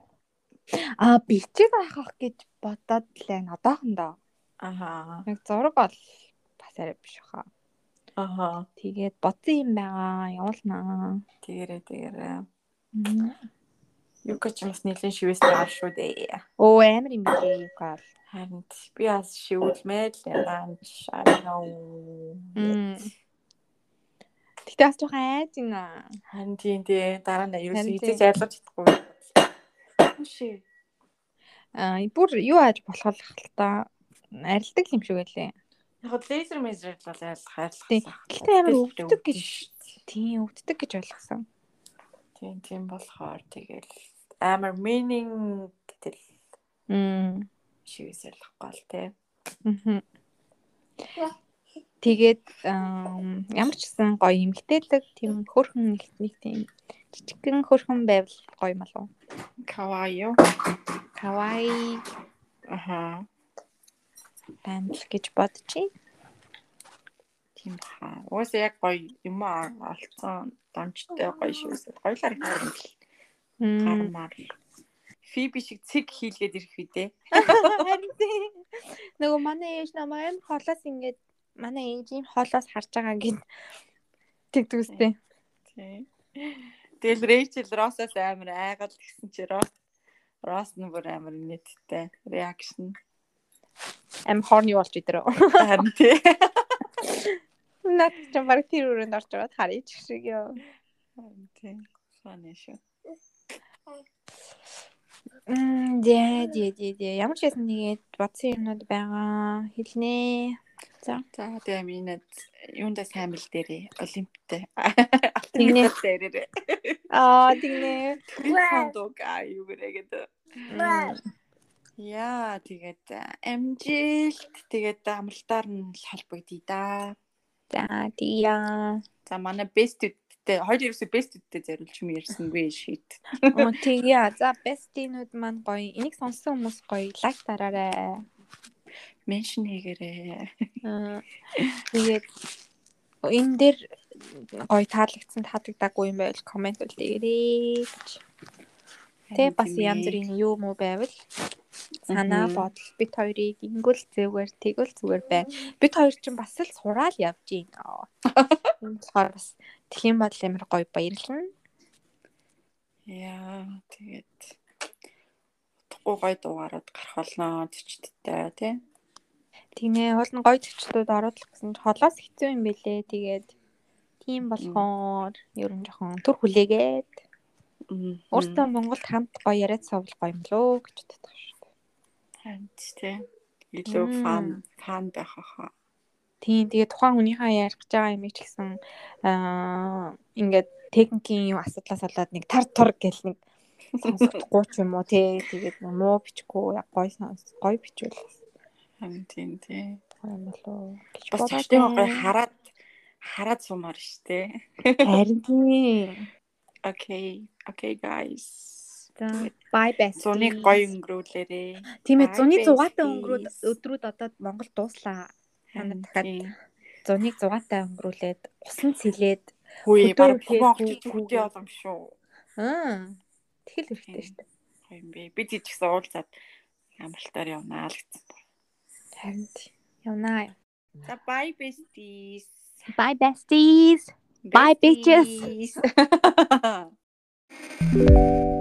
S1: Аа бичиг авах гэж бодоод л байна одоохондоо.
S2: Аха.
S1: Нэг зураг бол бас арай биш хаа.
S2: Аха.
S1: Тэгээд бодсон юм байгаа. Явуулна.
S2: Тэгэрэ тэгэрэ.
S1: Мм.
S2: Юка ч бас нэлийн шивээстэй авах шүү дээ.
S1: Оо амар юм би юу гал.
S2: Харин би бас шивүүлмээр л янаач. I don't know.
S1: Мм. Тэгтээ бас жоохон айж байна.
S2: Харин тийм дээ. Дараа нь ерөөсөө
S1: Харин
S2: хийж
S1: тийм.
S2: айлгаж чадахгүй. Үшээ.
S1: Аа бүр юу ааж болох л та арилдаг юм шиг байлээ.
S2: Яг л лейзер мезер бол айлгах айлгах.
S1: Тийм.
S2: сайхан.
S1: Гэхдээ амар
S2: Тэгэл
S1: өвддөг гэж.
S2: шүү дээ.
S1: Тийм өвддөг гэж ойлгосон.
S2: Тийм тийм болохоор тэгэл амар meaning гэдэг
S1: Мм.
S2: шивээс айлгахгүй л тий.
S1: мгм. Тэгээд ам, ямар ч гэсэн гоё эмгтээлэг тийм хөрхөн нэг нэг тийм жижигхэн хөрхөн байвал гоё мал уу.
S2: Кавайо.
S1: Кавай
S2: Аха.
S1: байна л гэж бодчих.
S2: Тийм баха. Уусаа яг гоё юм аа олцсон. Дамжтай гоё шивээс. Гоё л харагдсан.
S1: Мм.
S2: гармаар. Фиби шиг цэг хийлгээд ирэх үү дээ.
S1: Харин тийм. Нөгөө манай ээж намайг аим холоос ингээд манай ээж ийм холоос харж байгаа гэд тэгдэгстэй.
S2: Тийм. Тэгэл Рэйчел Росоос амар айгал гэсэн чи Рос Рос нь бүр амар нэттэй реакшн.
S1: Аим хорны болж идрөө.
S2: Харин тий.
S1: Наад ч юм баг тэр өрөөнд орж ороод харъя ч шиг ёо.
S2: Харин тий. Фаны шүү.
S1: Мм, дээ дээ дээ дээ. Ямар ч юм нэгэд бодсон юмнууд байгаа. Хэлнэ.
S2: За тэгээ минийд юундаа сайн бил дээрээ олимптэй.
S1: Тэгнэ.
S2: Тэгнэ дээрээ.
S1: Аа, тэгнэ.
S2: Фан док аа юу гэрэгэд. Яа тэгээд амжилт тэгээд амралтаар нь л холбогдъё да.
S1: За, тийя.
S2: За манай бестүүдтэй хоёр ерөөсөө бестүүдтэй зориулж юм ярьсангүй шийд.
S1: Оо, тийя. За, бестинууд маань гоё. Энийг сонссон хүмүүс гоё. Лайк дараарай.
S2: Меншн хийгээрээ.
S1: Аа, Тэгээд энэ дээр гоё таалагдсан таалагдаагүй юм байвал комент үл дээрээ. Тэ бас янз бүрийн юу муу байвал санаа
S2: Мгм.
S1: бодол бит хоёрыг ингүүл зүгээр тэгвэл зүгээр байна. Бит хоёр ч бас л сураал явж гин. Энэ болохоор бас тэлхийн бодол амар гоё баярлна.
S2: Яа тэгээд утгагүй гой дугаараад гарах болноо төчттэй тий.
S1: Тэгнэ уул нь гоё төвчлүүд оруулах гэсэн ч холоос хэцүү юм бэлээ. Тэгээд тийм болохоор ер нь жоохон төр хүлээгээд өөртөө Монголд хамт гоё яриад сувл гоё юм лөө гэж боддог шүү дээ.
S2: ханд тий. Илүү
S1: Мм.
S2: фан фан байх хаа.
S1: Тийм тэгээд тухайн хүнийхээ ярих гэж байгаа юм их ч гэсэн аа ингээд техникийн юу асуудлаас болоод нэг тар тур гэл нэг сонсохгүй ч юм уу тий тэгээд нэг муу бичгүй яг гоё сонс гоё бичвэл
S2: Ханд тий тий.
S1: гоё юм болоо гэж
S2: Бас
S1: бодоод
S2: тэгтээ гой
S1: байна.
S2: хараад хараад сумаар штэ.
S1: харин тийм
S2: Окей. Окей, guys.
S1: За бай байс.
S2: Зуны гоё өнгөрүүлээрээ.
S1: Тийм ээ,
S2: Bye,
S1: зуны 6-атай
S2: besties.
S1: өнгөрөөд өдрүүд одоо Монгол дуслаа. Манай дахиад
S2: Тийм.
S1: зуныг 6-атай өнгөрүүлээд усан цэлээд
S2: Хөөе,
S1: Хөдөө
S2: баг
S1: үлээ,
S2: бүгөө очиж
S1: хүү, хүү.
S2: үхтий болом шүү.
S1: аа тэгэл хэрэгтэй шүү дээ.
S2: Тийм. Гоё юм бэ. Бид ч гэсэн уулзаад амралтаар явнаа л гэсэн.
S1: Харин тийм. Явнаа.
S2: За bye besties.
S1: Бай
S2: *laughs*
S1: besties. Bye, bitches.
S2: Besties.